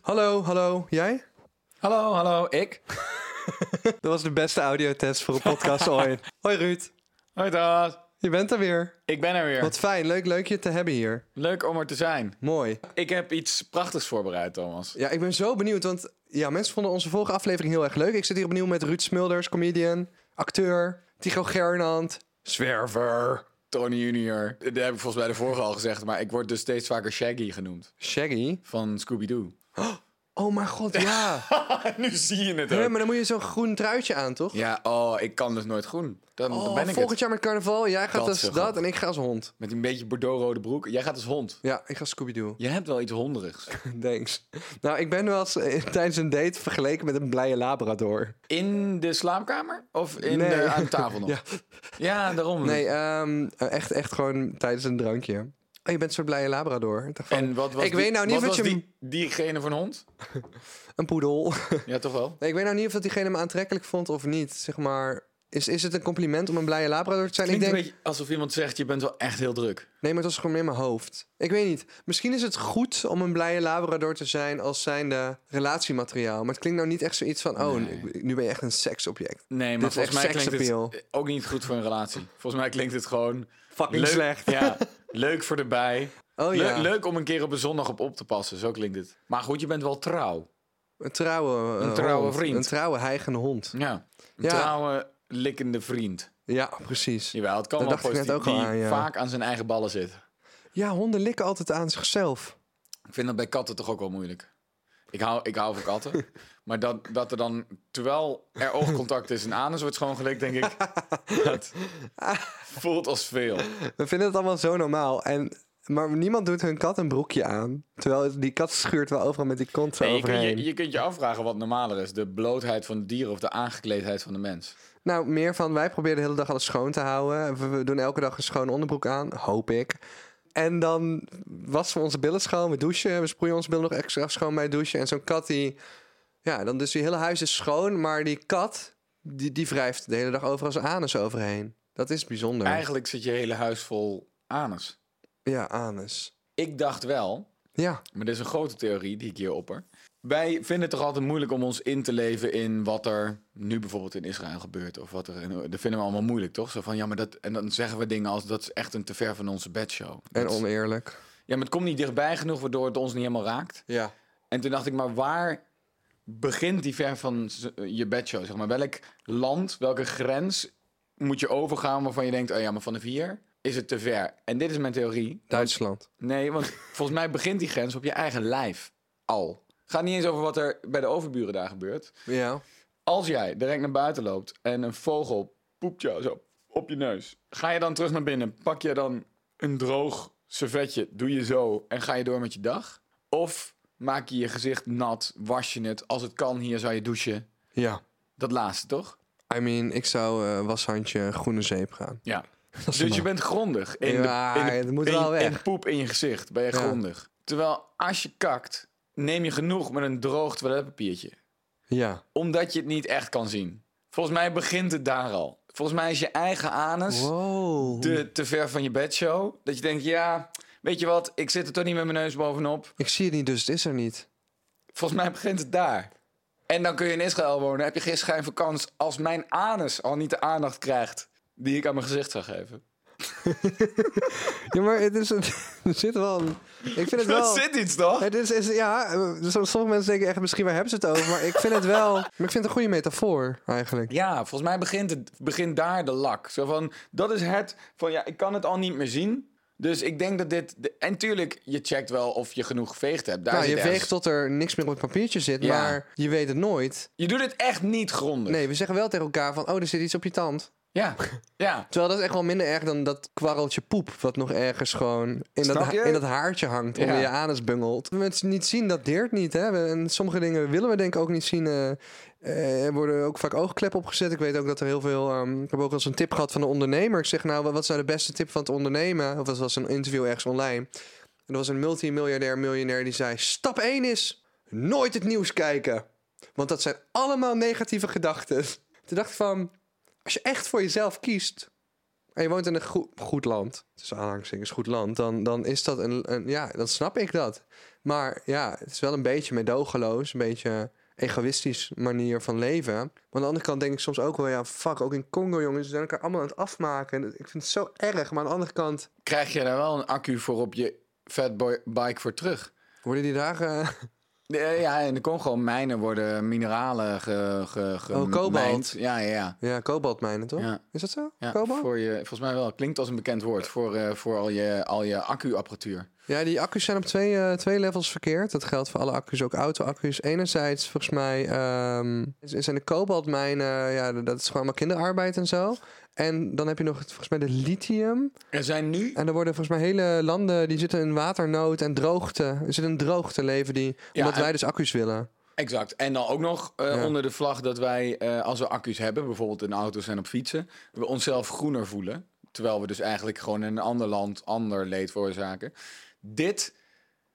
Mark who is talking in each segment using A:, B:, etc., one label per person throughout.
A: Hallo, hallo, jij?
B: Hallo, hallo, ik.
A: Dat was de beste audiotest voor een podcast ooit. Hoi Ruud,
B: Hoi Thas.
A: je bent er weer.
B: Ik ben er weer.
A: Wat fijn, leuk, leuk je te hebben hier.
B: Leuk om er te zijn.
A: Mooi.
B: Ik heb iets prachtigs voorbereid, Thomas.
A: Ja, ik ben zo benieuwd, want ja, mensen vonden onze vorige aflevering heel erg leuk. Ik zit hier opnieuw met Ruud Smulders, comedian, acteur, Tycho Gernand.
B: Zwerver. Tony Junior. Dat heb ik volgens mij de vorige al gezegd, maar ik word dus steeds vaker Shaggy genoemd.
A: Shaggy.
B: Van Scooby-Doo.
A: Oh mijn god, ja.
B: nu zie je het
A: Hè, maar dan moet je zo'n groen truitje aan, toch?
B: Ja, oh, ik kan dus nooit groen. Dan, dan
A: Oh,
B: ben ik
A: volgend
B: het.
A: jaar met carnaval, jij gaat
B: Dat
A: als
B: is een
A: dat
B: god.
A: en ik ga als hond.
B: Met een beetje bordeaux-rode broek. Jij gaat als hond.
A: Ja, ik ga Scooby-Doo.
B: Je hebt wel iets honderigs.
A: Thanks. Nou, ik ben wel eens eh, tijdens een date vergeleken met een blije labrador.
B: In de slaapkamer? Of in
A: Nee.
B: de, aan tafel nog?
A: Ja.
B: ja. daarom.
A: Nee, ehm, echt, echt gewoon tijdens een drankje. Oh, je bent zo'n blije labrador. Ik dacht van,
B: En wat was
A: ik
B: die-
A: weet nou niet
B: wat
A: of dat
B: was
A: je hem-
B: die, diegene van hond?
A: een poedel.
B: Ja, toch wel?
A: nee, ik weet nou niet of dat diegene me aantrekkelijk vond of niet. Zeg maar, is, is het een compliment om een blije labrador te zijn?
B: Klinkt
A: ik denk,
B: een beetje alsof iemand zegt, je bent wel echt heel druk.
A: nee, maar het was gewoon in mijn hoofd. Ik weet niet. Misschien is het goed om een blije labrador te zijn als zijnde relatiemateriaal. Maar het klinkt nou niet echt zoiets van, oh,
B: Nee.
A: nu- nu ben je echt een seksobject.
B: Nee,
A: Dit
B: maar
A: is
B: volgens mij
A: echt
B: klinkt
A: seksappeal.
B: het ook niet goed voor een relatie. Volgens mij klinkt het gewoon...
A: Fucking
B: leuk,
A: slecht.
B: Ja, leuk voor de bij.
A: Oh
B: Le-
A: ja,
B: leuk om een keer op een zondag op op te passen, zo klinkt het. Maar goed, je bent wel trouw.
A: een trouwe eh,
B: een trouwe
A: hond.
B: vriend.
A: Een trouwe heigende hond.
B: Ja, een
A: Ja.
B: trouwe, likkende vriend.
A: Ja, precies.
B: Jawel, het kan
A: Dat
B: wel
A: dacht ik net
B: positief,
A: ook al
B: die
A: aan, ja.
B: vaak aan zijn eigen ballen zit.
A: Ja, honden likken altijd aan zichzelf.
B: Ik vind dat bij katten toch ook wel moeilijk. Ik hou, ik hou van katten. maar dat, dat er dan, terwijl er oogcontact is en anus wordt schoongelikt, denk ik... dat voelt als veel.
A: We vinden het allemaal zo normaal. En, maar niemand doet hun kat een broekje aan. Terwijl die kat schuurt wel overal met die kont zo
B: Nee, je, kunt
A: overheen.
B: je, je kunt je afvragen wat normaler is. De blootheid van de dieren of de aangekleedheid van de mens.
A: Nou, meer van wij proberen de hele dag alles schoon te houden. We, we doen elke dag een schoon onderbroek aan, hoop ik. En dan wassen we onze billen schoon, we douchen. We sproeien onze billen nog extra schoon bij het douchen. En zo'n kat die... Ja, dan dus die hele huis is schoon, maar die kat... Die, die wrijft de hele dag overal zijn anus overheen. Dat is bijzonder.
B: Eigenlijk zit je hele huis vol anus.
A: Ja, anus.
B: Ik dacht wel,
A: Ja,
B: maar dit is een grote theorie die ik hier opper. Wij vinden het toch altijd moeilijk om ons in te leven in wat er nu bijvoorbeeld in Israël gebeurt. Of wat er in, dat vinden we allemaal moeilijk, toch? Zo van, ja, maar dat, en dan zeggen we dingen als dat is echt een te ver van onze bedshow.
A: en
B: Dat is-
A: oneerlijk.
B: ja, maar het komt niet dichtbij genoeg, waardoor het ons niet helemaal raakt.
A: Ja.
B: En toen dacht ik, maar waar begint die ver van z- je bedshow? Zeg maar, welk land, welke grens moet je overgaan waarvan je denkt, oh ja, maar van de vier is het te ver. En dit is mijn theorie.
A: Duitsland.
B: Nee, want volgens mij begint die grens op je eigen lijf al. Gaat niet eens over wat er bij de overburen daar gebeurt.
A: Ja.
B: Als jij direct naar buiten loopt en een vogel poept jou zo op je neus, ga je dan terug naar binnen, pak je dan een droog servetje, doe je zo en ga je door met je dag? Of maak je je gezicht nat, was je het, als het kan hier zou je douchen.
A: Ja.
B: Dat laatste toch?
A: I mean, ik zou eh, washandje groene zeep gaan.
B: Ja. Dus je bent grondig. In
A: Ja,
B: de, in de-
A: het moet
B: in-
A: wel weg.
B: in poep in je gezicht ben je
A: Ja.
B: grondig. Terwijl als je kakt, neem je genoeg met een droog toiletpapiertje.
A: Ja.
B: Omdat je het niet echt kan zien. Volgens mij begint het daar al. Volgens mij is je eigen anus
A: Wow.
B: te, te ver van je bedshow. Dat je denkt, ja, weet je wat, ik zit er toch niet met mijn neus bovenop.
A: Ik zie het niet, dus het is er niet.
B: Volgens mij begint het daar. En dan kun je in Israël wonen. Heb je geen schijn van kans als mijn anus al niet de aandacht krijgt die ik aan mijn gezicht zou geven.
A: Ja, maar het is... een- er zit wel... een- Ik vind het
B: Er
A: wel...
B: zit iets toch?
A: Het is, is, ja, eh, so- sommige mensen denken echt, misschien waar hebben ze het over? Maar ik vind het wel... Maar ik vind het een goede metafoor, eigenlijk.
B: Ja, volgens mij begint, het, begint daar de lak. Zo van, dat is het van, ja, ik kan het al niet meer zien. Dus ik denk dat dit... de- en tuurlijk, je checkt wel of je genoeg geveegd hebt. Daar
A: Nou,
B: zit
A: je
B: ergens-
A: weegt tot er niks meer op het papiertje zit,
B: Ja.
A: maar je weet het nooit.
B: Je doet het echt niet grondig.
A: Nee, we zeggen wel tegen elkaar van, oh, er zit iets op je tand.
B: Ja, ja.
A: Terwijl dat is echt wel minder erg dan dat kwarreltje poep... wat nog ergens gewoon in, dat,
B: Snap
A: ha-
B: je?
A: in dat haartje hangt, onder
B: Ja.
A: je anus bungelt. Mensen niet zien, dat deert niet. Hè? We- En sommige dingen willen we denk ik ook niet zien. eh, eh, Er worden ook vaak oogkleppen opgezet. Ik weet ook dat er heel veel... ehm, ik heb ook wel eens een tip gehad van een ondernemer. Ik zeg nou, wa- wat is nou de beste tip van het ondernemen? Of dat was een interview ergens online. En er was een multimiljardair miljonair die zei... Stap 1 is nooit het nieuws kijken. Want dat zijn allemaal negatieve gedachten. Toen dacht ik van... Als je echt voor jezelf kiest, en je woont in een goe- goed land, tussen aanhalingstekens goed land, dan, dan is dat een, een. Ja, dan snap ik dat. Maar ja, het is wel een beetje medogeloos, een beetje egoïstisch manier van leven. Maar aan de andere kant denk ik soms ook wel, ja, fuck, ook in Congo, jongens, ze zijn elkaar allemaal aan het afmaken. En Ik vind het zo erg, maar aan de andere kant
B: Krijg je daar wel een accu voor op je fatboy bike voor terug?
A: worden die dagen.
B: Eh, Ja, in de Congo mijnen worden mineralen ge, ge, ge-
A: Oh, kobalt.
B: mijnd. Ja, ja, ja.
A: ja, kobaltmijnen, toch?
B: Ja.
A: Is dat zo?
B: ja
A: Kobalt?
B: voor je, volgens mij wel. Klinkt als een bekend woord voor, eh, voor al je, al je accu-apparatuur.
A: Ja, die accu's zijn op twee, eh, twee levels verkeerd. Dat geldt voor alle accu's, ook auto-accu's. Enerzijds, volgens mij, ehm, is- zijn de kobaltmijnen... Ja, d- dat is gewoon allemaal kinderarbeid en zo. En dan heb je nog het- volgens mij de lithium.
B: Er zijn nu...
A: En er worden volgens mij hele landen... die zitten in waternood en droogte. Er zit een droogte leven die...
B: Ja,
A: omdat
B: en-
A: wij dus accu's willen.
B: Exact. En dan ook nog eh,
A: Ja.
B: onder de vlag dat wij, eh, als we accu's hebben, bijvoorbeeld in auto's en op fietsen, we onszelf groener voelen. Terwijl we dus eigenlijk gewoon in een ander land ander leed veroorzaken. Dit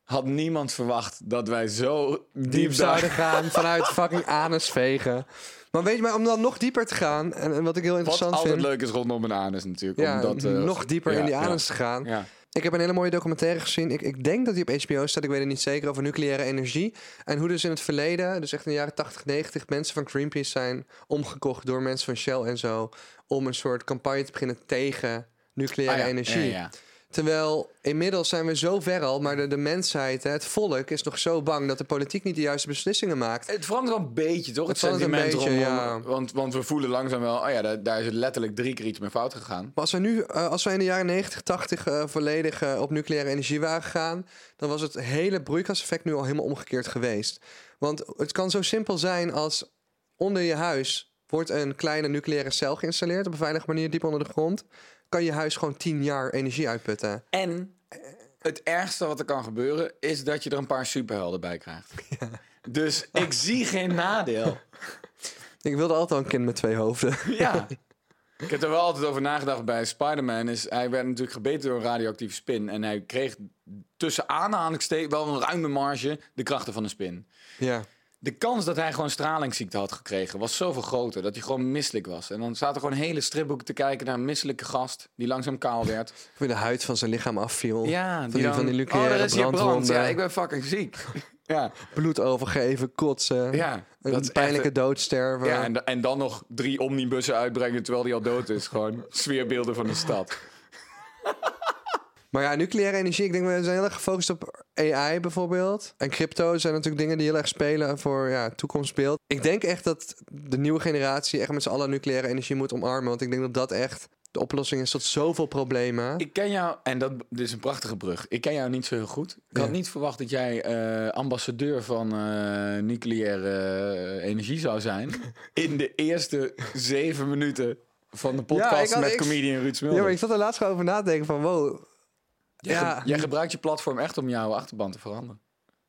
B: had niemand verwacht dat wij zo diep
A: diep zouden
B: zouden.
A: gaan vanuit fucking anus vegen. Maar weet je, maar om dan nog dieper te gaan... en, en wat ik heel
B: Wat
A: interessant
B: altijd
A: vind...
B: leuk is rondom een anus natuurlijk.
A: Ja,
B: omdat, eh,
A: nog dieper
B: ja,
A: in die
B: ja,
A: anus te gaan.
B: Ja. Ah,
A: Ik heb een hele mooie documentaire gezien. Ik, ik denk dat die op HBO staat. Ik weet het niet zeker. Over nucleaire energie. En hoe dus in het verleden, dus echt in de jaren 80, 90, mensen van Greenpeace zijn omgekocht door mensen van Shell en zo. Om een soort campagne te beginnen tegen nucleaire
B: Ah, ja,
A: energie.
B: ja, ja.
A: Terwijl inmiddels zijn we zo ver al, maar de, de mensheid, hè, het volk, is nog zo bang dat de politiek niet de juiste beslissingen maakt.
B: Het verandert wel een beetje, toch?
A: Het
B: Het,
A: verandert een
B: sentiment
A: beetje,
B: rondom.
A: ja.
B: Want, want we voelen langzaam wel, oh ja, daar, daar is letterlijk drie keer iets mee fout gegaan.
A: Maar als we nu, eh, als we in de jaren 90, 80 eh, volledig eh, op nucleaire energie waren gegaan, dan was het hele broeikaseffect nu al helemaal omgekeerd geweest. Want het kan zo simpel zijn als onder je huis wordt een kleine nucleaire cel geïnstalleerd op een veilige manier diep onder de grond. Kan je huis gewoon 10 jaar energie uitputten.
B: En het ergste wat er kan gebeuren is dat je er een paar superhelden bij krijgt. Dus ik zie geen nadeel.
A: Ik wilde altijd al een kind met twee hoofden.
B: Ja. Ik heb er wel altijd over nagedacht bij Spider-Man. Is, hij werd natuurlijk gebeten door een radioactieve spin. En hij kreeg tussen aanhalingstekens wel een ruime marge de krachten van een spin.
A: ja.
B: De kans dat hij gewoon stralingsziekte had gekregen was zoveel groter. Dat hij gewoon misselijk was. En dan zaten er gewoon hele stripboeken te kijken naar een misselijke gast. Die langzaam kaal werd.
A: Of de huid van zijn lichaam afviel.
B: Ja, Oh,
A: van die, van die nucleaire
B: daar is je brand.
A: brandwonden.
B: Ja, ik ben fucking ziek. ja,
A: Bloed overgeven, kotsen.
B: ja.
A: Een
B: dat is echt-
A: pijnlijke doodsterven.
B: Ja, en, da- en dan nog drie omnibussen uitbrengen terwijl die al dood is. Gewoon sfeerbeelden van de stad.
A: Maar ja, nucleaire energie, ik denk we zijn heel erg gefocust op AI bijvoorbeeld. En crypto zijn natuurlijk dingen die heel erg spelen voor ja, het toekomstbeeld. Ik denk echt dat de nieuwe generatie echt met z'n allen nucleaire energie moet omarmen. Want ik denk dat dat echt de oplossing is tot zoveel problemen.
B: Ik ken jou, en dat dit is een prachtige brug. Ik ken jou niet zo heel goed. Ik had
A: Ja.
B: niet verwacht dat jij eh, ambassadeur van eh, nucleaire eh, energie zou zijn. In de eerste zeven minuten van de
A: Ja,
B: podcast
A: ik had-
B: met
A: ik-
B: comedian Ruud Smulder.
A: Ja, maar ik zat er laatst gewoon over na te denken van wow.
B: Jij ge-
A: ja.
B: Jij gebruikt je platform echt om jouw achterban te veranderen.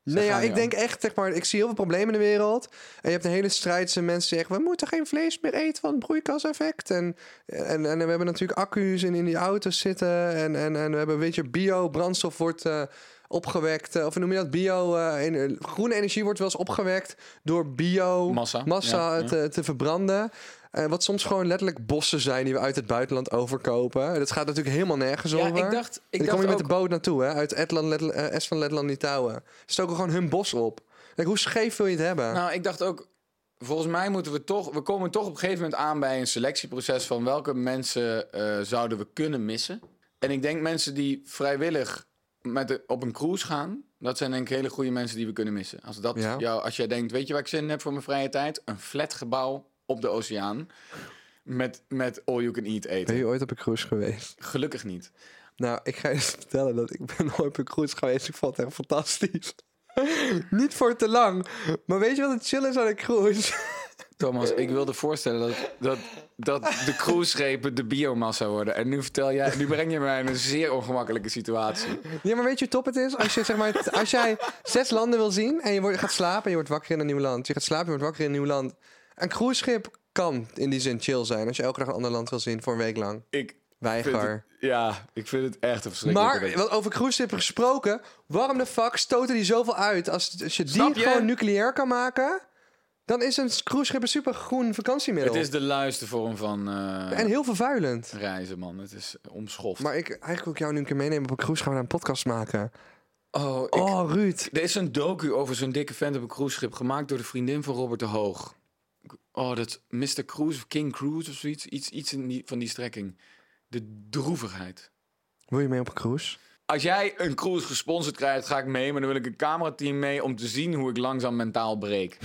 A: Nee, ja,
B: aan,
A: ik
B: ja.
A: denk echt, zeg maar, ik zie heel veel problemen in de wereld. En je hebt een hele strijd tussen mensen die zeggen... we moeten geen vlees meer eten, want broeikaseffect. En, en, en we hebben natuurlijk accu's in, in die auto's zitten. En, en, en we hebben, weet je, bio-brandstof wordt eh, opgewekt. eh, of hoe noem je dat? Bio, eh, in- groene energie wordt wel eens opgewekt... door bio
B: Massa,
A: massa
B: ja, ja.
A: Te, te verbranden. Eh, wat soms gewoon letterlijk bossen zijn die we uit het buitenland overkopen. Dat gaat natuurlijk helemaal nergens
B: Ja,
A: over.
B: ik dacht, ik
A: Ik kom
B: dacht
A: je met
B: ook,
A: de boot naartoe, hè? Uit Estland, Let- eh, Estland, Letland, Litouwen. Stoken gewoon hun bos op. Kijk, hoe scheef wil je het hebben?
B: Nou, ik dacht ook, volgens mij moeten we toch, we komen toch op een gegeven moment aan bij een selectieproces van welke mensen eh, zouden we kunnen missen. En ik denk mensen die vrijwillig met de- op een cruise gaan, dat zijn denk ik hele goede mensen die we kunnen missen. Als, dat
A: Ja.
B: jou, als jij denkt, weet je waar ik zin in heb voor mijn vrije tijd? Een flatgebouw op de oceaan met, met all you can eat
A: ben
B: eten.
A: je ooit op een cruise geweest?
B: Gelukkig niet.
A: Nou, ik ga je eens vertellen dat ik ben ooit op een cruise geweest. Ik vond het echt fantastisch. Niet voor te lang. Maar weet je wat het chill is aan een cruise?
B: Thomas, ik wilde voorstellen dat, dat, dat de cruiseschepen de biomassa worden. En nu vertel jij, nu breng je mij in een zeer ongemakkelijke situatie.
A: Ja, maar weet je hoe top het is? Als, je, zeg maar, als jij zes landen wil zien en je wordt, gaat slapen en je wordt wakker in een nieuw land. Je gaat slapen en je wordt wakker in een nieuw land. Een cruiseschip kan in die zin chill zijn. Als je elke dag een ander land wil zien voor een week lang.
B: Ik vind
A: Weiger.
B: het- ja, ik vind het echt een verschrikkelijke
A: Maar,
B: week.
A: wat over cruiseschepen gesproken, waarom de fuck stoten die zoveel uit? Als, als je die
B: Snap je?
A: gewoon nucleair kan maken, Dan is een cruiseschip een supergroen vakantiemiddel.
B: Het is de luiste vorm van eh,
A: En heel vervuilend.
B: reizen, man. Het is omschoft.
A: Maar ik, eigenlijk wil ik jou nu een keer meenemen op een cruise. Gaan we daar een podcast maken.
B: oh, ik-
A: Oh, Ruud.
B: Er is een docu over zo'n dikke vent op een cruiseschip... gemaakt door de vriendin van Robert de Hoog. Oh, dat Mr. Cruise of King Cruise of zoiets. Iets, iets in die, van die strekking. De droevigheid.
A: Wil je mee op een cruise?
B: Als jij een cruise gesponsord krijgt, ga ik mee. Maar dan wil ik een camerateam mee om te zien hoe ik langzaam mentaal breek.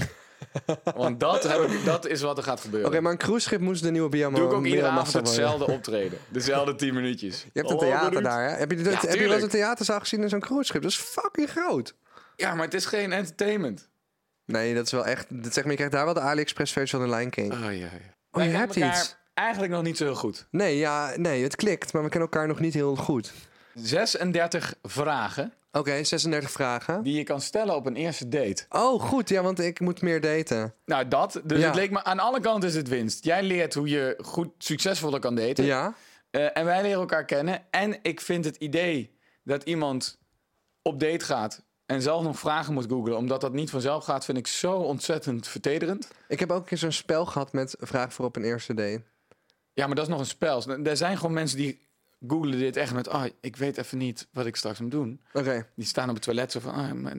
B: Want dat, heb ik, dat is wat er gaat gebeuren.
A: Oké, maar een cruiseschip moest de nieuwe Biamo.
B: Doe ik ook iedere avond
A: Miramassa worden.
B: hetzelfde optreden. Dezelfde 10 minuutjes. Oh,
A: Je hebt een
B: Hallo,
A: theater
B: bedoeld.
A: daar, hè? Heb je, dat, heb
B: Ja,
A: je wel eens
B: tuurlijk.
A: een theaterzaal gezien in zo'n cruiseschip? Dat is fucking groot.
B: Ja, maar het is geen entertainment.
A: Nee, dat is wel echt... Dat zeg maar, je krijgt daar wel de AliExpress-versie van de Lion King.
B: Oh ja, ja.
A: Oh, je
B: Wij
A: hebt
B: kennen
A: iets.
B: Eigenlijk nog niet zo heel goed.
A: Nee, ja, nee, het klikt, maar we kennen elkaar nog niet heel goed.
B: 36 vragen
A: Oké, 36 vragen.
B: die je kan stellen op een eerste date.
A: Oh, goed, ja, want ik moet meer daten.
B: Nou, dat. Dus
A: Ja.
B: het leek me aan alle kanten is het winst. Jij leert hoe je goed succesvoller kan daten.
A: Ja?
B: Eh, en wij leren elkaar kennen. En ik vind het idee dat iemand op date gaat en zelf nog vragen moet googlen, omdat dat niet vanzelf gaat, vind ik zo ontzettend vertederend.
A: Ik heb ook een keer zo'n spel gehad met vraag voor op een eerste date.
B: Ja, maar dat is nog een spel. Er zijn gewoon mensen die googlen dit echt met, ah, ik weet even niet wat ik straks moet doen.
A: Oké,
B: Die staan op het toilet zo van, ah, maar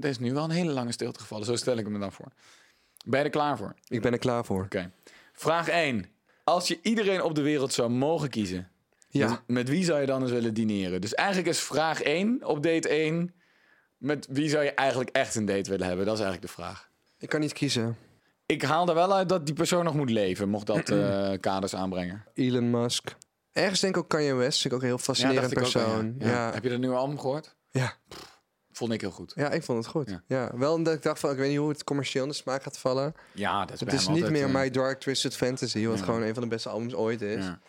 B: er is nu wel een hele lange stilte gevallen. Zo stel ik me dan voor. Ben je er klaar voor?
A: ik ben er klaar voor.
B: Oké. Vraag 1. Als je iedereen op de wereld zou mogen kiezen,
A: Ja.
B: Met, met wie zou je dan eens willen dineren? Dus eigenlijk is vraag 1 op date 1. Met wie zou je eigenlijk echt een date willen hebben? Dat is eigenlijk de vraag.
A: Ik kan niet kiezen.
B: Ik haal er wel uit dat die persoon nog moet leven, mocht dat eh, kaders aanbrengen.
A: Elon Musk. Ergens denk ik ook Kanye West. Vind ik ook een heel fascinerend
B: dacht ik ook al,
A: persoon.
B: ja. Ja. Heb je dat nu al gehoord?
A: ja.
B: Vond ik heel goed.
A: Ja, ik vond het goed. Ja.
B: Ja.
A: wel omdat ik dacht van, ik weet niet hoe het commercieel in de smaak gaat vallen.
B: Ja, dat is,
A: Het
B: bij
A: is
B: hem
A: niet
B: altijd,
A: meer
B: eh,
A: My Dark Twisted Fantasy, wat
B: Ja.
A: gewoon een van de beste albums ooit is.
B: ja,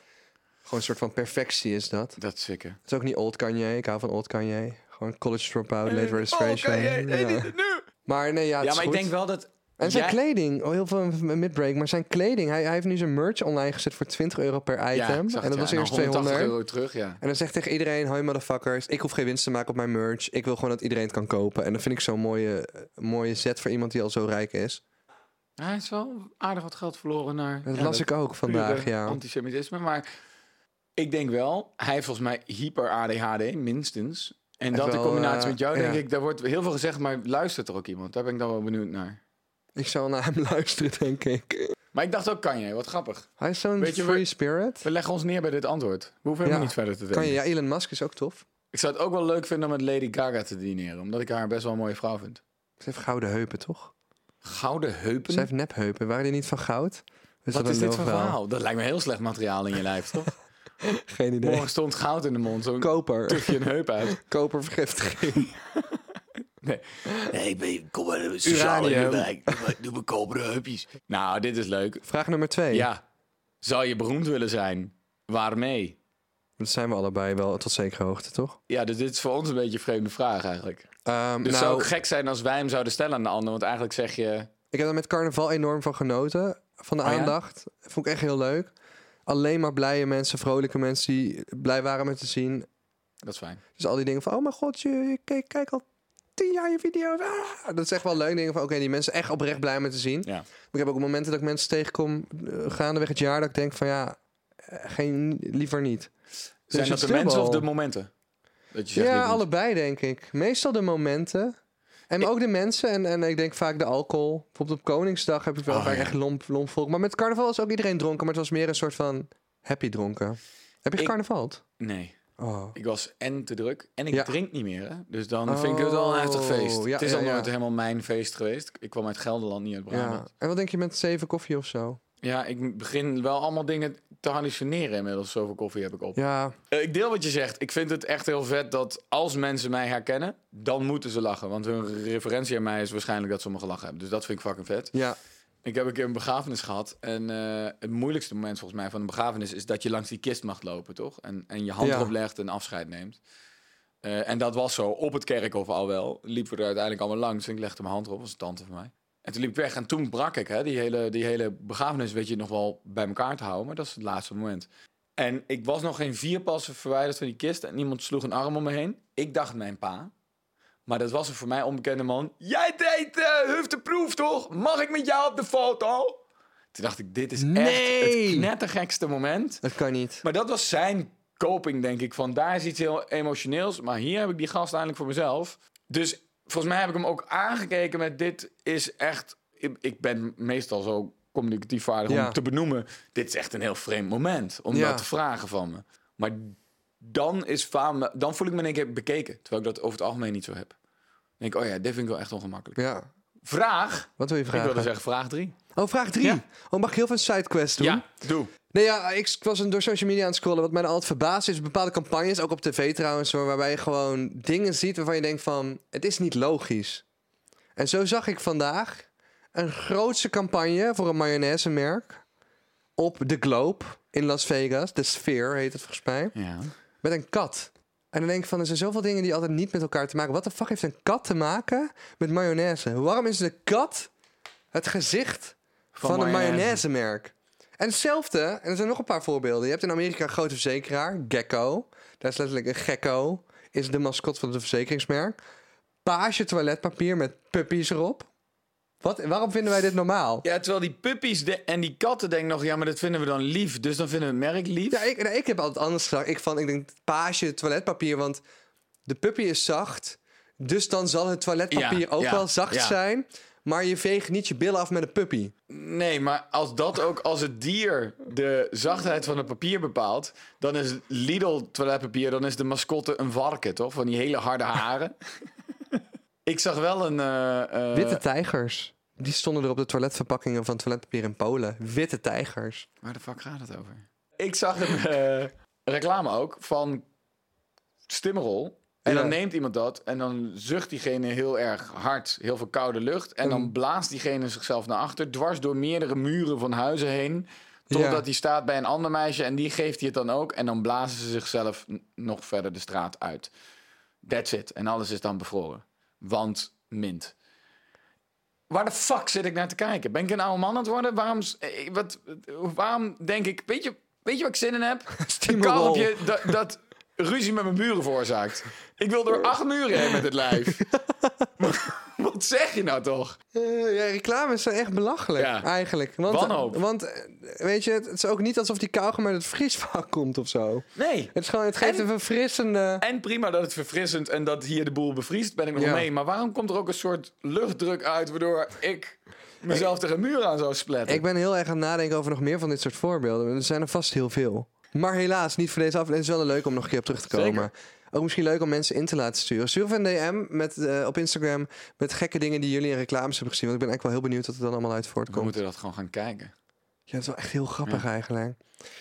A: Gewoon een soort van perfectie is dat.
B: dat is zeker.
A: Het is ook niet old Kanye, ik hou van old Kanye. Gewoon college dropout, late
B: Oh,
A: registration.
B: kan jij? Nee,
A: Ja.
B: niet nu!
A: Maar nee, ja, het
B: Ja,
A: is
B: maar ik
A: goed.
B: denk wel dat...
A: En zijn
B: jij-
A: kleding, oh, heel veel een midbreak, maar zijn kleding. Hij, hij heeft nu zijn merch online gezet voor 20 euro per item.
B: Ja, ik zag
A: en
B: het,
A: dat
B: ja.
A: was
B: Nou,
A: eerst
B: 180
A: 200.
B: euro terug, ja.
A: En dan zegt tegen iedereen, hoi motherfuckers, ik hoef geen winst te maken op mijn merch. Ik wil gewoon dat iedereen het kan kopen. En dat vind ik zo'n mooie, mooie zet voor iemand die al zo rijk is.
B: Hij is wel aardig wat geld verloren naar...
A: Dat
B: ja,
A: las ik ook vandaag,
B: pure
A: ja.
B: Antisemitisme. Maar ik denk wel, hij heeft volgens mij hyper ADHD, minstens. En
A: Heeft
B: dat in
A: wel,
B: combinatie
A: eh,
B: met jou, denk
A: ja.
B: ik, daar wordt heel veel gezegd, maar luistert er ook iemand? Daar ben ik dan wel benieuwd naar.
A: Ik zal naar hem luisteren, denk ik.
B: Maar ik dacht ook, kan jij? Wat grappig.
A: Hij is zo'n
B: Weet je,
A: free
B: we-
A: spirit.
B: We leggen ons neer bij dit antwoord. We hoeven helemaal
A: Ja.
B: niet verder te denken.
A: Kan je, ja, Elon Musk is ook tof.
B: Ik zou het ook wel leuk vinden om met Lady Gaga te dineren, omdat ik haar best wel een mooie vrouw vind.
A: Ze heeft gouden heupen, toch?
B: Gouden heupen?
A: Ze heeft nepheupen. Waren die niet van goud? Dus
B: Wat
A: dat
B: is
A: een
B: dit voor
A: loofbouw.
B: verhaal? Dat lijkt me heel slecht materiaal in je lijf, toch?
A: Geen idee.
B: Morgen stond goud in de mond, zo'n
A: Koper.
B: tufje een heup uit.
A: Kopervergiftiging.
B: Nee, ik ben, kom maar,
A: sociaal in de
B: wijk. Doe mijn koperen heupjes. Nou, dit is leuk.
A: Vraag nummer twee.
B: Ja. Zou je beroemd willen zijn? Waarmee?
A: Dat zijn we allebei wel tot zekere hoogte, toch?
B: Ja, dus dit is voor ons een beetje een vreemde vraag eigenlijk. Dus
A: Ehm,
B: het zou
A: nou,
B: ook gek zijn als wij hem zouden stellen aan de ander. Want eigenlijk zeg je...
A: ik heb er met carnaval enorm van genoten. Van de
B: Oh ja?
A: aandacht. Vond ik echt heel leuk. Alleen maar blije mensen, vrolijke mensen die blij waren met te zien.
B: Dat is fijn.
A: Dus al die dingen van, oh mijn god, je, je kijk, kijk al tien jaar je video's. Ah, dat is echt wel leuk. Dingen van, oké, die mensen echt oprecht blij met te zien.
B: Ja.
A: Maar ik heb ook momenten dat ik mensen tegenkom eh, gaandeweg het jaar dat ik denk van, ja, eh, geen, liever niet. Dus
B: Zijn
A: het
B: dat de
A: dubbel.
B: mensen of de momenten? Dat je zegt,
A: Ja,
B: dit moet-
A: allebei denk ik. Meestal de momenten. En ook de mensen. En, en ik denk vaak de alcohol. Bijvoorbeeld op Koningsdag heb ik wel
B: Oh,
A: vaak
B: ja.
A: echt lomp, lomp volk. Maar met carnaval was ook iedereen dronken. Maar het was meer een soort van happy dronken. Heb je
B: Ik-
A: gecarnavald?
B: Nee,
A: Oh.
B: ik was en te druk en ik
A: Ja.
B: drink niet meer. Hè? Dus dan vind ik het wel een heftig
A: Oh,
B: feest.
A: ja,
B: het is
A: ja,
B: al
A: ja.
B: nooit helemaal mijn feest geweest. Ik kwam uit Gelderland, niet uit Brabant.
A: Ja. En wat denk je met zeven koffie of zo?
B: Ja, ik begin wel allemaal dingen te hallucineren inmiddels. Zoveel koffie heb ik op.
A: Ja,
B: Eh, ik deel wat je zegt. Ik vind het echt heel vet dat als mensen mij herkennen, dan moeten ze lachen. Want hun referentie aan mij is waarschijnlijk dat ze om me gelachen hebben. Dus dat vind ik fucking vet.
A: ja.
B: Ik heb een keer een begrafenis gehad. En eh, het moeilijkste moment volgens mij van een begrafenis is dat je langs die kist mag lopen, toch? En, en je hand
A: Ja.
B: erop legt en afscheid neemt. Eh, en dat was zo op het kerkhof al wel. Liepen we er uiteindelijk allemaal langs. En ik legde mijn hand erop, was een tante van mij. En toen liep ik weg en toen brak ik. Hè, die, hele, die hele begrafenis weet je nog wel bij elkaar te houden. Maar dat is het laatste moment. En ik was nog geen vier passen verwijderd van die kist. En iemand sloeg een arm om me heen. Ik dacht mijn pa. Maar dat was een voor mij onbekende man. Jij deed eh hufteproef, toch? Mag ik met jou op de foto? Toen dacht ik, dit is echt
A: Nee!
B: het knettergekste moment.
A: Dat kan niet.
B: Maar dat was zijn coping, denk ik. Van daar is iets heel emotioneels. Maar hier heb ik die gast eindelijk voor mezelf. Dus volgens mij heb ik hem ook aangekeken met dit is echt... Ik, ik ben meestal zo communicatief vaardig
A: Ja.
B: om te benoemen. Dit is echt een heel vreemd moment om
A: Ja.
B: dat te vragen van me. Maar dan, is faam, dan voel ik me in één keer bekeken. Terwijl ik dat over het algemeen niet zo heb. Dan denk ik, oh ja, dit vind ik wel echt ongemakkelijk.
A: Ja.
B: Vraag,
A: Wat wil je
B: ik wilde
A: vragen?
B: zeggen vraag drie.
A: Oh, vraag drie.
B: Ja.
A: Oh, mag ik heel veel sidequest doen?
B: Ja, doe.
A: Nee, ja, ik was een- door social media aan het scrollen. Wat mij dan altijd verbaast is bepaalde campagnes, ook op tv trouwens, hoor, waarbij je gewoon dingen ziet waarvan je denkt van, het is niet logisch. En zo zag ik vandaag een grootse campagne voor een mayonaise-merk op de Globe in Las Vegas. De Sphere heet het volgens mij.
B: Ja.
A: Met een kat. En dan denk ik van, er zijn zoveel dingen die altijd niet met elkaar te maken. Wat de fuck heeft een kat te maken met mayonaise? Waarom is de kat het gezicht van, een
B: mayonaise.
A: mayonaise-merk? En hetzelfde, en er zijn nog een paar voorbeelden. Je hebt in Amerika een grote verzekeraar, Gecko. Daar is letterlijk een gekko, is de mascot van het verzekeringsmerk. Page toiletpapier met puppies erop. Wat, waarom vinden wij dit normaal?
B: Ja, terwijl die puppies de- en die katten denken nog... ja, maar dat vinden we dan lief. Dus dan vinden we het merk lief.
A: Ja, ik, nou, ik heb altijd anders gedacht. Ik, van, ik denk page toiletpapier, want de puppy is zacht. Dus dan zal het toiletpapier
B: Ja,
A: ook
B: ja,
A: wel zacht
B: ja.
A: zijn. Maar je veegt niet je billen af met een puppy.
B: Nee, maar als dat ook... als het dier de zachtheid van het papier bepaalt... dan is Lidl toiletpapier... dan is de mascotte een varken, toch? Van die hele harde haren. ik zag wel een... eh, eh,
A: Witte tijgers. Die stonden er op de toiletverpakkingen van toiletpapier in Polen. Witte tijgers.
B: Waar de fuck gaat het over? Ik zag een eh, reclame ook van Stimmerol. En
A: Ja.
B: dan neemt iemand dat en dan zucht diegene heel erg hard, heel veel koude lucht. En dan blaast diegene zichzelf naar achter, dwars door meerdere muren van huizen heen. Totdat
A: Ja.
B: hij staat bij een ander meisje en die geeft hij het dan ook. En dan blazen ze zichzelf n- nog verder de straat uit. That's it. En alles is dan bevroren. Want mint. Waar de fuck zit ik naar te kijken? Ben ik een oude man aan het worden? Waarom, s- eh, wat, waarom denk ik... Weet je, weet je wat ik zin in heb? Een
A: Steamroll.
B: karretje dat, dat ruzie met mijn buren veroorzaakt. Ik wil door acht muren heen met het lijf. wat zeg je nou toch?
A: Eh, ja, reclames zijn echt belachelijk,
B: Ja.
A: eigenlijk. Want,
B: Wanhoop.
A: Want, eh, weet je, het, het is ook niet alsof die kauwgom uit het vriesvak komt of zo.
B: Nee.
A: Het, is gewoon, het geeft
B: En-
A: een verfrissende...
B: En prima dat het verfrissend en dat hier de boel bevriest, ben ik nog
A: Ja.
B: mee. Maar waarom komt er ook een soort luchtdruk uit waardoor ik mezelf tegen een muur aan zou spletten?
A: Ik ben heel erg aan het nadenken over nog meer van dit soort voorbeelden. Er zijn er vast heel veel. Maar helaas, niet voor deze aflevering. Het is wel leuk om nog een keer op terug te komen.
B: Zeker.
A: Ook misschien leuk om mensen in te laten sturen. Stuur even een DM met, eh, op Instagram met gekke dingen die jullie in reclames hebben gezien. Want ik ben eigenlijk wel heel benieuwd wat er dan allemaal uit
B: We
A: voortkomt.
B: moeten dat gewoon gaan kijken.
A: Ja, dat is wel echt heel grappig eigenlijk.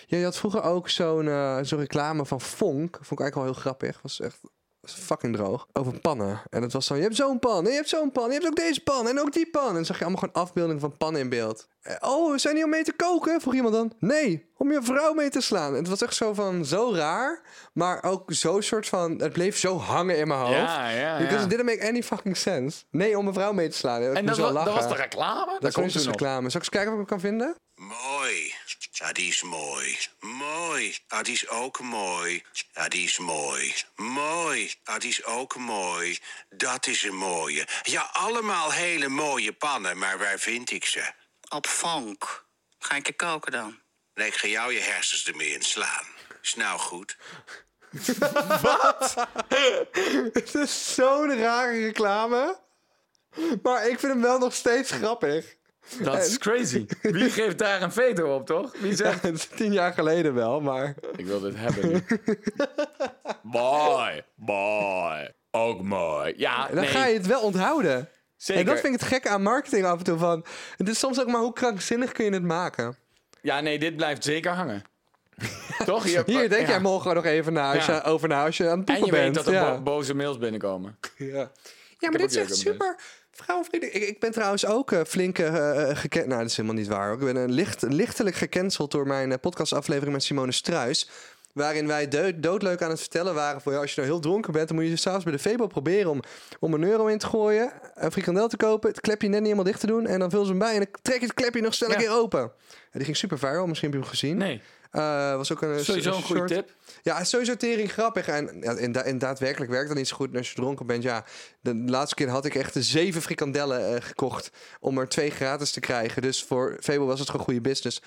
A: Ja, je had vroeger ook zo'n eh, zo'n reclame van Fonk. Vond ik eigenlijk wel heel grappig. Was echt was fucking droog. Over pannen. En het was zo, je hebt zo'n pan, en je hebt zo'n pan, en je hebt ook deze pan, en ook die pan. En dan zag je allemaal gewoon afbeeldingen van pannen in beeld. Eh, oh, we zijn hier om mee te koken? Vroeg iemand dan. Nee, om je vrouw mee te slaan. En het was echt zo van, zo raar. Maar ook zo soort van, het bleef zo hangen in mijn hoofd.
B: Ja, ja,
A: Because
B: ja.
A: it didn't make any fucking sense. Nee, om mijn vrouw mee te slaan. Ik
B: En
A: moest
B: dat,
A: wel
B: wa- dat
A: lachen.
B: was de reclame? Dat,
A: Dat
B: komt
A: is
B: toen
A: dus
B: nog.
A: reclame. Zal ik eens kijken of ik hem kan vinden?
C: Mooi, dat is mooi. Mooi, dat is ook mooi. Dat is mooi. Mooi, dat is ook mooi. Dat is een mooie. Ja, allemaal hele mooie pannen, maar waar vind ik ze?
D: Op vonk. Ga ik je koken dan?
C: Nee, ik ga jou je hersens ermee inslaan. Is nou goed.
A: Het is zo'n rare reclame. Maar ik vind hem wel nog steeds grappig.
B: Dat is crazy. Wie geeft daar een veto op, toch? Wie zegt...
A: Het is tien jaar geleden wel, maar...
B: Ik wil dit hebben nu. mooi. Mooi. Ook mooi. Ja,
A: Dan
B: nee.
A: ga je het wel onthouden.
B: Zeker.
A: En dat vind ik het gek aan marketing af en toe. Van, het is soms ook maar hoe krankzinnig kun je het maken.
B: Ja, nee, dit blijft zeker hangen. toch? Je-
A: Hier, denk
B: Oh, ja.
A: jij morgen nog even na als je,
B: Ja.
A: over na als je aan het
B: En
A: poepen
B: je weet
A: bent.
B: dat er
A: ja.
B: bo- boze mails binnenkomen.
A: Ja. ja, maar
B: ook eh,
A: dit is echt
B: jeuk aan mijn
A: super vrouwenvriendelijk. Ik, ik ben trouwens ook eh, flink gekend. Nou, dat is helemaal niet waar. hoor. Ik ben eh, licht, lichtelijk gecanceld door mijn eh, podcastaflevering met Simone Struis. Waarin wij deu- doodleuk aan het vertellen waren voor jou. Als je nou heel dronken bent, dan moet je s'avonds bij de Febo proberen om, om een euro in te gooien. Een frikandel te kopen, het klepje net niet helemaal dicht te doen. En dan vul ze hem bij en dan trek je het klepje nog snel een
B: Ja.
A: keer open. En die ging super viral, misschien heb je hem gezien.
B: Nee.
A: Eh, was ook een,
B: Sowieso een goede
A: soort-
B: tip.
A: Ja, sowieso tering grappig. En, ja, en, da- en daadwerkelijk werkt dat niet zo goed als je dronken bent. Ja, de laatste keer had ik echt zeven frikandellen eh, gekocht om er twee gratis te krijgen. Dus voor Fable was het gewoon goede business.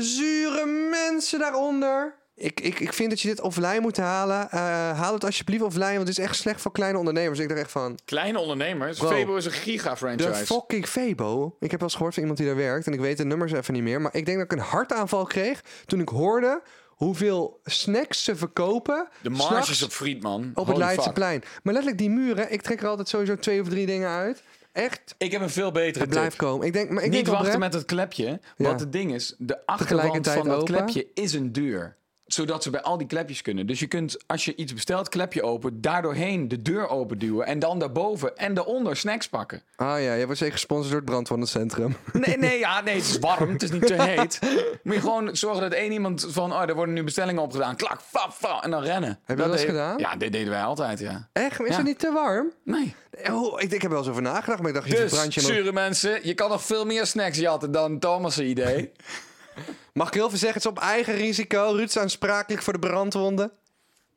A: Zure mensen daaronder. Ik, ik, ik vind dat je dit offline moet halen. Eh, haal het alsjeblieft offline, want het is echt slecht voor kleine ondernemers. Ik dacht echt van,
B: Kleine ondernemers.
A: Bro.
B: Febo is een
A: de
B: giga-franchise.
A: fucking Febo. Ik heb wel eens gehoord van iemand die daar werkt. En ik weet de nummers even niet meer. Maar ik denk dat ik een hartaanval kreeg toen ik hoorde hoeveel snacks ze verkopen.
B: De
A: s'nachts
B: marges op Friedman.
A: op het
B: Holy fuck.
A: Leidseplein. Maar letterlijk die muren. Ik trek er altijd sowieso twee of drie dingen uit. Echt,
B: Ik heb een veel betere
A: het blijft
B: tip.
A: komen. Ik denk, maar ik
B: Niet
A: denk
B: wachten
A: oprecht-
B: met het klepje.
A: Ja.
B: Want het ding is, de achterwand
A: Tegelijkertijd
B: van dat
A: open.
B: klepje is een deur. Zodat ze bij al die klepjes kunnen. Dus je kunt, als je iets bestelt, klepje open. Daardoorheen de deur open duwen. En dan daarboven en daaronder snacks pakken.
A: Ah ja, jij wordt zeker gesponsord door het brandwondencentrum.
B: Nee, nee, ja, nee, het is warm. Het is niet te heet. Moet je gewoon zorgen dat één iemand van... Oh, er worden nu bestellingen opgedaan. Klak, fa, fa, en dan rennen. Heb
A: je dat eens gedaan?
B: Ja, dit deden wij altijd, ja.
A: Echt? Maar Is
B: Ja.
A: het niet te warm?
B: Nee.
A: Oh, ik, ik heb wel eens over nagedacht, maar ik dacht, je
B: Dus,
A: verbrandt je nog.
B: zure mensen, je kan nog veel meer snacks jatten dan Thomas' idee.
A: Mag ik heel veel zeggen, het is op eigen risico. Ruud is aansprakelijk voor de brandwonden.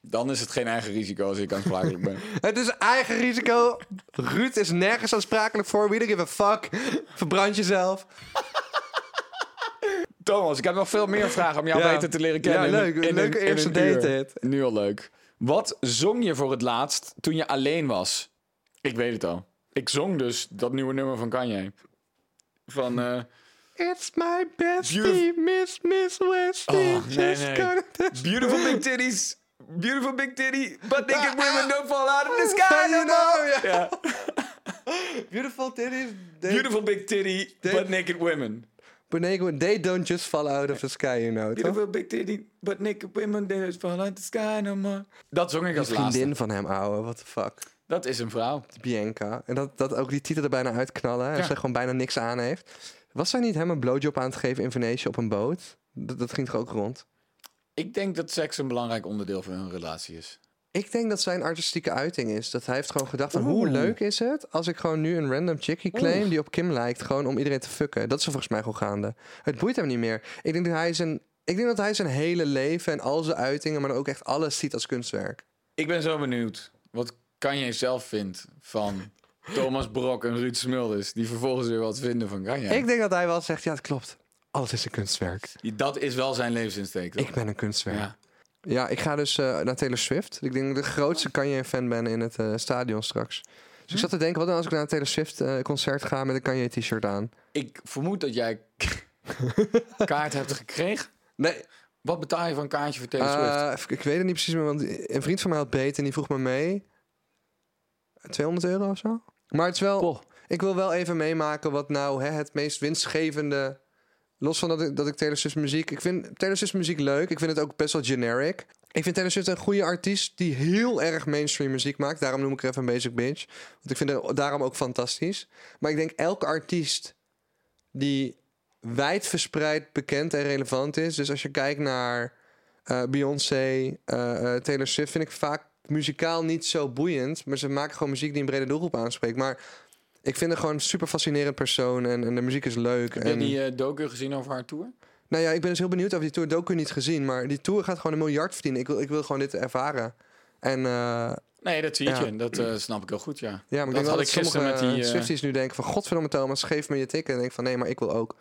B: Dan is het geen eigen risico als ik aansprakelijk ben.
A: Het is eigen risico. Ruud is nergens aansprakelijk voor. We don't give a fuck. Verbrand jezelf.
B: Thomas, ik heb nog veel meer vragen om jou
A: Ja.
B: beter te leren kennen.
A: Ja,
B: in
A: leuk.
B: een- in
A: Leuke
B: een- in
A: eerste
B: een uur.
A: date dit.
B: Nu al leuk. Wat zong je voor het laatst toen je alleen was? Ik weet het al. Ik zong dus dat nieuwe nummer van Kanye. Van... eh,
A: It's my bestie,
B: Beautiful-
A: Miss Miss Westie.
B: Oh, nee,
A: Just
B: nee.
A: gonna-
B: Beautiful big titties. Beautiful big titty. But naked women don't fall out of the
A: Sky,
B: sky
A: you
B: no
A: know,
B: more.
A: ja.
B: Ja.
A: Beautiful titties. They,
B: Beautiful big titty. But naked women.
A: Bonego, they don't just fall out of the sky, you know. Toch?
B: Beautiful big titty. But naked women don't fall out of the sky no more. Dat zong ik als laatste.
A: Vriendin van hem, ouwe. What the fuck.
B: Dat is een vrouw.
A: Bianca. En dat, dat ook die titel er bijna uitknallen. En
B: Ja.
A: ze gewoon bijna niks aan heeft. Was zij niet hem een blowjob aan te geven in Venetië op een boot? Dat, dat ging toch ook rond?
B: Ik denk dat seks een belangrijk onderdeel van hun relatie is.
A: Ik denk dat zijn artistieke uiting is. Dat hij heeft gewoon gedacht van
B: Oeh.
A: hoe leuk is het als ik gewoon nu een random chickie claim die op Kim lijkt. Gewoon om iedereen te fucken. Dat is er volgens mij gewoon gaande. Het boeit hem niet meer. Ik denk dat hij zijn, ik denk dat hij zijn hele leven en al zijn uitingen, maar dan ook echt alles ziet als kunstwerk.
B: Ik ben zo benieuwd wat Kanye zelf vindt van Thomas Brok en Ruud Smulders. Die vervolgens weer wat vinden van Kanye.
A: Ik denk dat hij wel zegt, ja het klopt. Alles is een kunstwerk.
B: Dat is wel zijn levensinsteek. toch?
A: Ik ben een kunstwerk. Ja,
B: Ja.
A: ik ga dus eh, naar Taylor Swift. Ik denk dat ik de grootste Kanye-fan ben in het eh, stadion straks. Dus ik zat te denken, wat nou als ik naar een Taylor Swift-concert ga met een Kanye-t-shirt aan?
B: Ik vermoed dat jij kaart hebt gekregen.
A: Nee,
B: Wat betaal je voor een kaartje voor Taylor Swift?
A: Eh, ik- ik weet het niet precies meer, want een vriend van mij had beet en die vroeg me mee. 200 euro of zo. Maar het is wel.
B: Poh.
A: Ik wil wel even meemaken wat nou hè, het meest winstgevende. Los van dat ik, dat ik Taylor Swift muziek. Ik vind Taylor Swift muziek leuk. Ik vind het ook best wel generic. Ik vind Taylor Swift een goede artiest die heel erg mainstream muziek maakt. Daarom noem ik er even een basic bitch. Want ik vind haar daarom ook fantastisch. Maar ik denk elke artiest die wijdverspreid bekend en relevant is. Dus als je kijkt naar eh, Beyoncé, eh, eh, Taylor Swift, vind ik vaak muzikaal niet zo boeiend. Maar ze maken gewoon muziek die een brede doelgroep aanspreekt. Maar ik vind haar gewoon een super fascinerend persoon en, en de muziek is leuk.
B: Heb je
A: En,
B: die eh, docu gezien over haar tour?
A: Nou ja, ik ben dus heel benieuwd of die tour docu niet gezien. Maar die tour gaat gewoon een miljard verdienen. Ik wil, ik wil gewoon dit ervaren. En eh,
B: Nee, dat zie
A: Ja.
B: je. Dat eh, snap ik heel goed, ja.
A: ja, maar ik
B: dat
A: denk wel
B: had
A: dat
B: ik gisteren
A: sommige
B: met die... eh,
A: Swifties nu denken van... Godverdomme Thomas, geef me je ticket. En ik denk van nee, maar ik wil ook.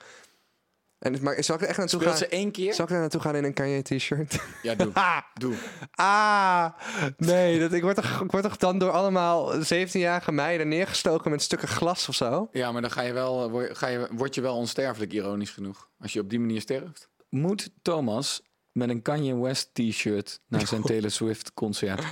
A: En, dus- maar zou ik er echt naartoe
B: Speelt
A: gaan?
B: ze één keer?
A: Zou ik daar naartoe gaan in een Kanye t-shirt?
B: Ja, doe. doe.
A: Ah, nee, dat, ik, word toch, ik word toch dan door allemaal 17-jarige meiden neergestoken met stukken glas of zo?
B: Ja, maar dan ga je wel, eh, word, ga je, word je wel onsterfelijk, ironisch genoeg. Als je op die manier sterft. Moet Thomas met een Kanye West t-shirt naar zijn Taylor Swift concert?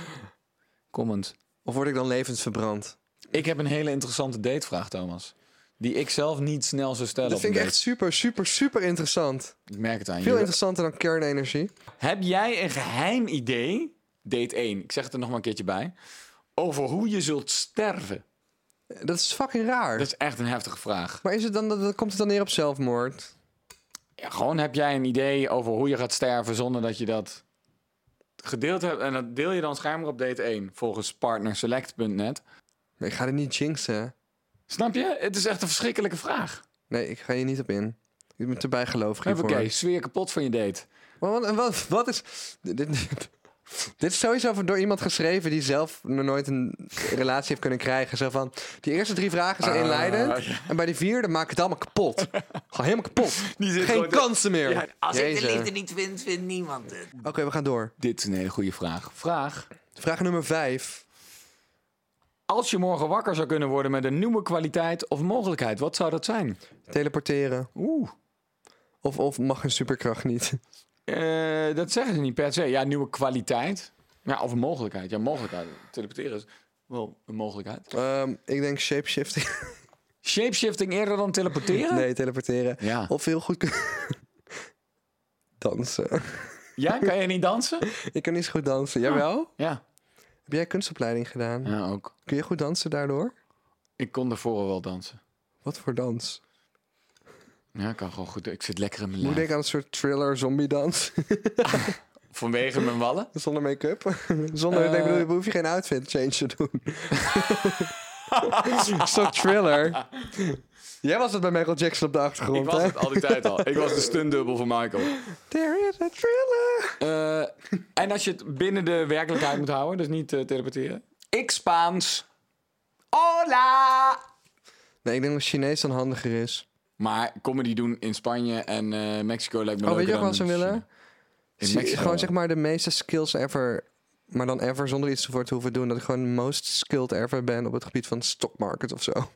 B: Comment.
A: Of word ik dan levend verbrand?
B: Ik heb een hele interessante datevraag, Thomas. Die ik zelf niet snel zou stellen.
A: Dat
B: op een
A: vind ik echt
B: date.
A: super, super, super interessant.
B: Ik merk het aan
A: Veel
B: je.
A: interessanter dan kernenergie.
B: Heb jij een geheim idee, date 1, ik zeg het er nog maar een keertje bij, over hoe je zult sterven?
A: Dat is fucking raar.
B: Dat is echt een heftige vraag.
A: Maar is het dan, dat, dat- komt het dan neer op zelfmoord?
B: Ja, gewoon heb jij een idee over hoe je gaat sterven zonder dat je dat gedeeld hebt. En dat deel je dan schijnbaar op date 1, volgens partnerselect.net.
A: Nee, ik ga dit niet jinxen.
B: Snap je? Het is echt een verschrikkelijke vraag.
A: Nee, ik ga hier niet op in. Je bent te bijgelovig hiervoor.
B: Oké, sfeer kapot van je date.
A: Maar wat, wat, wat is... Dit, dit, dit is sowieso van- door iemand geschreven die zelf nog nooit een relatie heeft kunnen krijgen. Zo van, die eerste drie vragen
E: Ah,
A: zijn inleidend. En bij die vierde maak ik het allemaal kapot. Gewoon helemaal kapot.
B: Die zit
A: Geen
B: gewoon te-
A: kansen meer.
B: Ja,
E: Als ik de
A: Jezus.
E: liefde niet vind, vindt niemand het.
A: Oké, we gaan door.
B: Dit is een hele goede vraag. Vraag.
A: Vraag nummer vijf.
B: Als je morgen wakker zou kunnen worden met een nieuwe kwaliteit of mogelijkheid, wat zou dat zijn?
A: Teleporteren.
B: Oeh.
A: Of, of mag een superkracht niet?
B: Eh, dat zeggen ze niet per se. Ja, nieuwe kwaliteit. Ja, of een mogelijkheid. Ja, mogelijkheid. Teleporteren is wel een mogelijkheid.
A: Ehm, ik denk shapeshifting.
B: Shapeshifting eerder dan teleporteren?
A: nee, teleporteren.
B: Ja.
A: Of heel goed kun- dansen.
B: Ja, kan je niet dansen?
A: ik kan niet zo goed dansen. Jawel?
B: Ja.
A: Heb jij kunstopleiding gedaan?
B: Ja, ook.
A: Kun je goed dansen daardoor?
B: Ik kon daarvoor wel dansen.
A: Wat voor dans?
B: Ja, ik kan gewoon goed. Ik zit lekker in mijn
A: Moet ik
B: lijf.
A: denken aan een soort thriller zombie dans.
B: Vanwege mijn wallen?
A: Zonder make-up. Zonder,
B: Eh.
A: nee, ik bedoel, je hoef je geen outfit change te doen. Zo'n thriller. Jij was het bij Michael Jackson op de achtergrond,
B: Ik was
A: hè?
B: het al die tijd al. Ik was de stuntdubbel van Michael.
A: There is a thriller.
B: Eh, en als je het binnen de werkelijkheid moet houden, dus niet eh, teleporteren. Ik Spaans. Hola!
A: Nee, ik denk dat Chinees dan handiger is.
B: Maar comedy doen in Spanje en eh, Mexico lijkt me
A: Oh, weet
B: leuker
A: je ook wat
B: dan
A: ze
B: in
A: willen?
B: China. In
A: Zie-
B: Mexico.
A: Gewoon zeg maar de meeste skills ever. Maar dan ever zonder iets ervoor te hoeven doen. Dat ik gewoon most skilled ever ben op het gebied van stock market of zo. Dat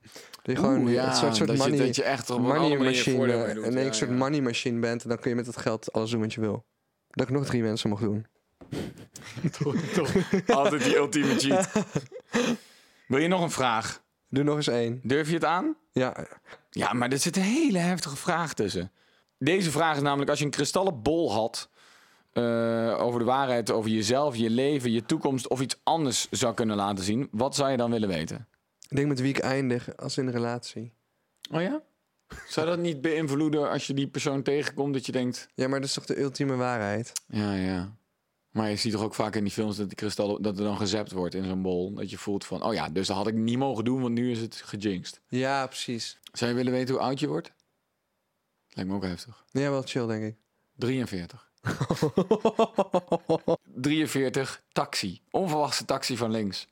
A: je gewoon
B: Oeh, ja,
A: een soort, soort
B: dat je-
A: money,
B: dat je echt op een andere
A: money
B: manier
A: machine.
B: voordeel mee
A: eh,
B: doet.
A: En
B: Ja,
A: een soort
B: ja.
A: money machine bent. En dan kun je met dat geld alles doen wat je wil. Dat ik nog drie mensen mag doen.
B: Toch. Altijd die ultieme cheat. Wil je nog een vraag?
A: Doe nog eens één.
B: Durf je het aan?
A: Ja,
B: Ja, maar er zit een hele heftige vraag tussen. Deze vraag is namelijk: als je een kristallen bol had. eh, over de waarheid, over jezelf, je leven, je toekomst of iets anders zou kunnen laten zien. Wat zou je dan willen weten?
A: ik denk met wie ik eindig als in een relatie.
B: Oh ja? Zou dat niet beïnvloeden als je die persoon tegenkomt dat je denkt...
A: Ja, maar dat is toch de ultieme waarheid?
B: Ja, ja. Maar je ziet toch ook vaak in die films dat die kristallen... dat er dan gezept wordt in zo'n bol. Dat je voelt van, oh ja, dus dat had ik niet mogen doen, want nu is het gejinxed.
A: Ja, precies.
B: Zou je willen weten hoe oud je wordt? Lijkt me ook heftig.
A: Ja, wel chill, denk ik.
B: 43. 43, taxi. Onverwachte taxi van links.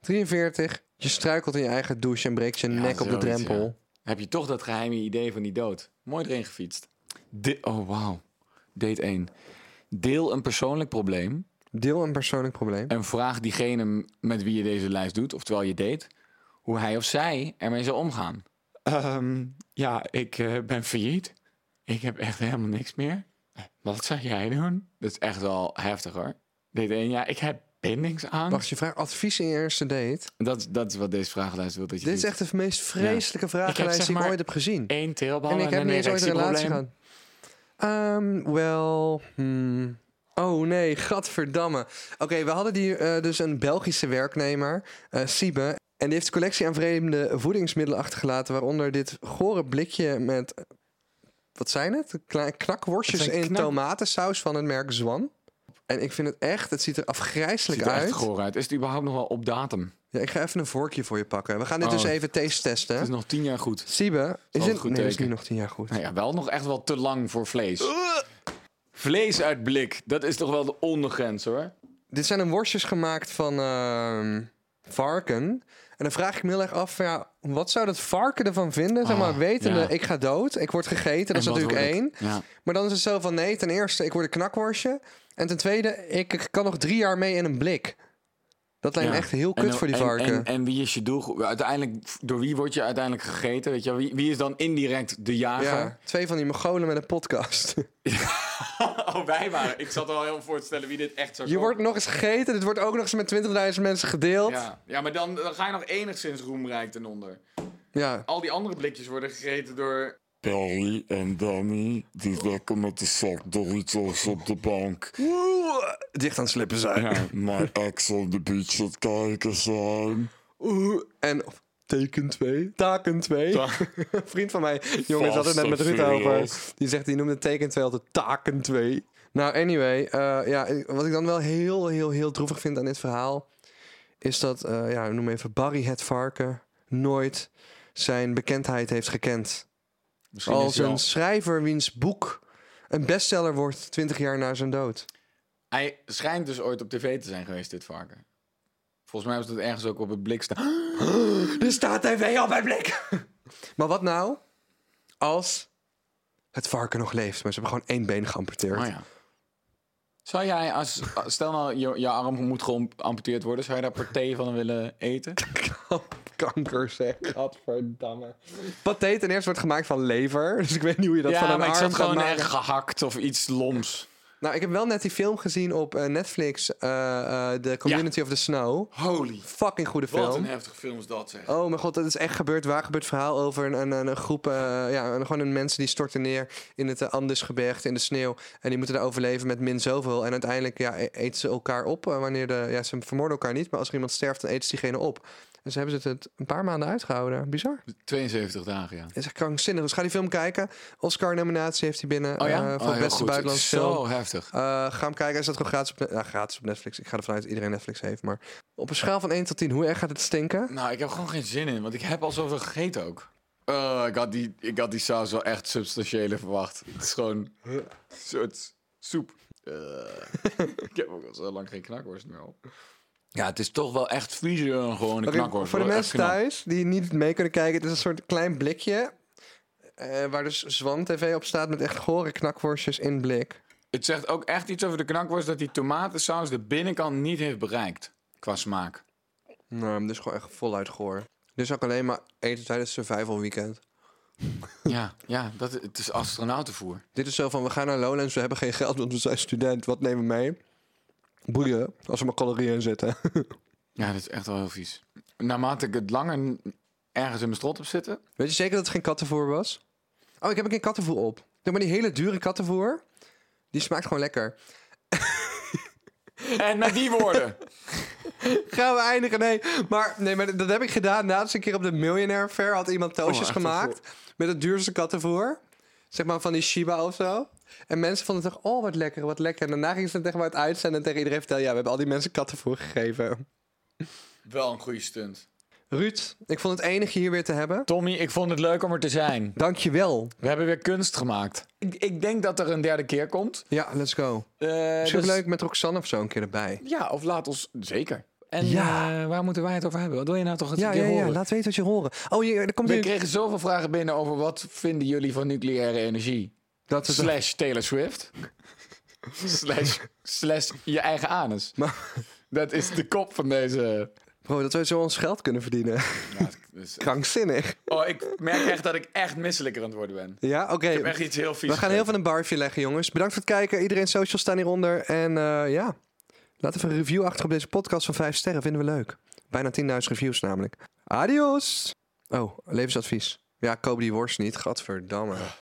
A: 43. Je struikelt in je eigen douche en breekt je nek op de
B: zoiets,
A: drempel.
B: ja. Heb je toch dat geheime idee van die dood? Mooi erin gefietst. De oh, wauw. Date 1. Deel een persoonlijk probleem
A: Deel een persoonlijk probleem.
B: en vraag diegene m- met wie je deze lijst doet, oftewel je date, hoe hij of zij ermee zou omgaan. ja, ik eh, ben failliet. Ik heb echt helemaal niks meer. Wat zou jij doen? Dat is echt wel heftig hoor. Date 1, ja, ik heb bindings aan.
A: Wacht, je vraagt advies in je eerste date.
B: Dat, dat is wat deze vragenlijst wil dat je
A: Dit is
B: doet.
A: echt de meest vreselijke vragenlijst
B: zeg
A: die ik
B: maar
A: ooit heb gezien.
B: Eén teelbal en,
A: en ik heb
B: een
A: niet eens ooit een relatie
B: erectieprobleem.
A: gehad. Ehm, wel... hmm. Oh nee, gadverdamme. Oké, we hadden die, eh, dus een Belgische werknemer, eh Siebe. En die heeft een collectie aan vreemde voedingsmiddelen achtergelaten... waaronder dit gore blikje met... eh, Wat zijn het? Kla- knakworstjes
B: Het zijn
A: in
B: knak-
A: tomatensaus van het merk Zwan. En ik vind het echt, het ziet er afgrijselijk
B: Ziet er
A: uit.
B: echt goor uit. Is het überhaupt nog wel op datum?
A: Ja, ik ga even een vorkje voor je pakken. We gaan dit
B: Oh.
A: dus even taste testen.
B: Het is nog tien jaar goed.
A: Siebe, is
B: altijd
A: dit...
B: goed
A: Nee, dat is
B: teken.
A: nu nog tien jaar goed.
B: Nou ja, wel nog echt wel te lang voor vlees. Vlees uit blik, dat is toch wel de ondergrens hoor.
A: Dit zijn een worstjes gemaakt van ehm, varken. En dan vraag ik me heel erg af, van, ja, wat zou dat varken ervan vinden? Zeg
B: Ah,
A: maar, wetende,
B: ja.
A: ik ga dood, ik word gegeten, dat
B: En
A: is
B: wat
A: natuurlijk
B: word ik?
A: één.
B: Ja.
A: Maar dan is het zo van, nee, ten eerste, ik word een knakworstje. En ten tweede, ik kan nog drie jaar mee in een blik. Dat lijkt me echt heel
B: En
A: kut
B: dan-
A: voor die
B: en-
A: varken.
B: En, en, wie is je doelgroep? Uiteindelijk, door wie word je uiteindelijk gegeten? Weet je, wel? wie, wie is dan indirect de
A: ja,
B: jager?
A: twee van die mogolen met een podcast.
B: oh, wij waren. Ik zat al heel voor te stellen wie dit echt zou
A: Je
B: kopen.
A: wordt nog eens gegeten, dit wordt ook nog eens met 20.000 mensen gedeeld. Ja.
B: Oh. Ja, ja maar dan, dan ga je nog enigszins roemrijk ten onder. Al die andere blikjes worden gegeten door...
F: Perry en Danny, die lekker met de zak Doritos op de bank
A: Oeh, dicht aan het slippen zijn.
F: naar Ex on the Beach aan het kijken zijn.
A: Oeh, en of teken 2. Taken 2. Een vriend van mij, jongen,
F: Fast
A: zat er net met
F: and
A: Ruud over.
F: Furious.
A: Die zegt, die noemde teken 2 altijd taken 2. Nou, anyway. eh, ja, ik- wat ik dan wel heel, heel, heel droevig vind aan dit verhaal... is dat, eh, ja, noem even Barry het varken... nooit zijn bekendheid heeft gekend.
B: Misschien is
A: Als
B: hij al-
A: een schrijver wiens boek een bestseller wordt 20 jaar na zijn dood.
B: Hij schijnt dus ooit op tv te zijn geweest, dit varken. Volgens mij was dat ergens ook op het blik staan.
A: Er staat TV op mijn blik. maar wat nou als het varken nog leeft, maar ze hebben gewoon één been geamputeerd.
B: Oh ja. Zou jij, als, als- stel nou, je, je arm moet geamputeerd worden, zou je daar partij van willen eten?
A: Kanker zeg, godverdamme. Pathé ten eerste wordt gemaakt van lever, dus ik weet niet hoe je dat van een
B: maar ik
A: arm
B: zat
A: gaat
B: gewoon
A: maken.
B: echt gehakt of iets loms.
A: Nou, ik heb wel net die film gezien op eh, Netflix, eh eh, The Community of the Snow.
B: Holy.
A: Fucking goede
B: Wat
A: film.
B: een heftige film is dat, zeg.
A: Oh mijn god, dat is echt gebeurd. Waar gebeurt verhaal over een, een, een- een groep, eh, ja, een- gewoon een mensen die storten neer in het eh, Andesgebergte in de sneeuw. En die moeten daar overleven met min zoveel. En uiteindelijk ja, e- eten ze elkaar op. eh, wanneer de, ja, ze vermoorden elkaar niet, maar als er iemand sterft, dan eten ze diegene op. En ze hebben ze het een paar maanden uitgehouden. Bizar.
B: 72 dagen, ja.
A: Het is echt krankzinnig. Dus ga die film kijken. Oscar-nominatie heeft hij binnen
B: Oh ja?
A: eh,
B: Oh,
A: voor
B: heel
A: beste
B: goed.
A: buitenlandse
B: Zo
A: film.
B: heftig.
A: Eh, ga hem kijken. Hij staat gewoon gratis op, ne- ja, gratis op Netflix. Ik ga ervan uit dat iedereen Netflix heeft. Maar op een schaal van 1 tot 10, hoe erg gaat het stinken?
B: Nou, ik heb gewoon geen zin in, want ik heb al zoveel gegeten ook. Eh, ik, had die, ik had die saus wel echt substantiële verwacht. Het is gewoon een soort soep. Eh, ik heb ook al zo lang geen knakworst meer op. Ja, het is toch wel echt vriezer dan gewoon een
A: Oké,
B: knakworst.
A: voor de
B: hoor. Echt
A: mensen
B: knap.
A: thuis die niet mee kunnen kijken, het is een soort klein blikje. eh, waar dus Zwan TV op staat met echt gore knakworstjes in blik.
B: Het zegt ook echt iets over de knakworst dat die tomatensaus de binnenkant niet heeft bereikt. Qua smaak.
A: Nou, dus gewoon echt voluit goor. Dus ook alleen maar eten tijdens survival weekend.
B: Ja, ja dat, het is astronautenvoer.
A: Dit is zo van, we gaan naar Lowlands, we hebben geen geld, want we zijn student. Wat nemen we mee? Boeien, als we maar calorieën in zitten.
B: Ja, dat is echt wel heel vies. Naarmate ik het langer n- ergens in mijn strot heb zitten...
A: Weet je zeker dat het geen kattenvoer was? Oh, ik heb een keer kattenvoer op. Doe maar die hele dure kattenvoer. Die smaakt gewoon lekker.
B: En met die woorden...
A: Gaan we eindigen? Nee, maar, nee, maar dat heb ik gedaan. Naast een keer op de Millionaire Fair had iemand toastjes
B: Oh, echt
A: gemaakt. Met het duurste kattenvoer. Zeg maar van die Shiba of zo. En mensen vonden het echt, oh wat lekker, wat lekker. En daarna gingen ze het tegen mij uitzenden en tegen iedereen vertellen... ja, we hebben al die mensen kattenvoer gegeven.
B: Wel een goede stunt.
A: Ruud, ik vond het enige hier weer te hebben.
B: Tommy, ik vond het leuk om er te zijn.
A: Dankjewel.
B: We hebben weer kunst gemaakt. Ik, ik denk dat er een derde keer komt.
A: Ja, let's go.
B: Eh,
A: Misschien
B: dus-
A: leuk met Roxanne of zo een keer erbij.
B: Ja, of laat ons... Zeker. En
A: Ja.
B: eh, waar moeten wij het over hebben? Wat wil je nou toch het
A: Ja,
B: keer
A: ja, ja,
B: horen?
A: laat weten wat je horen. Oh, je, er komt
B: We
A: weer...
B: kregen zoveel vragen binnen over wat vinden jullie van nucleaire energie?
A: Dat is
B: Slash Taylor Swift. slash, slash je eigen anus.
A: Maar,
B: Dat is de kop van deze...
A: bro, dat wij zo ons geld kunnen verdienen. Krankzinnig.
B: Oh, ik merk echt dat ik echt misselijker aan het worden ben.
A: Ja, oké.
B: Echt iets heel vies.
A: We gaan heel veel een barfje leggen, jongens. Bedankt voor het kijken. Iedereen socials staan hieronder. En eh, ja, laat even een review achter op deze podcast van 5 sterren. Vinden we leuk. Bijna 10.000 reviews namelijk. Adios. Oh, levensadvies. Ja, koop die worst niet. Gadverdamme.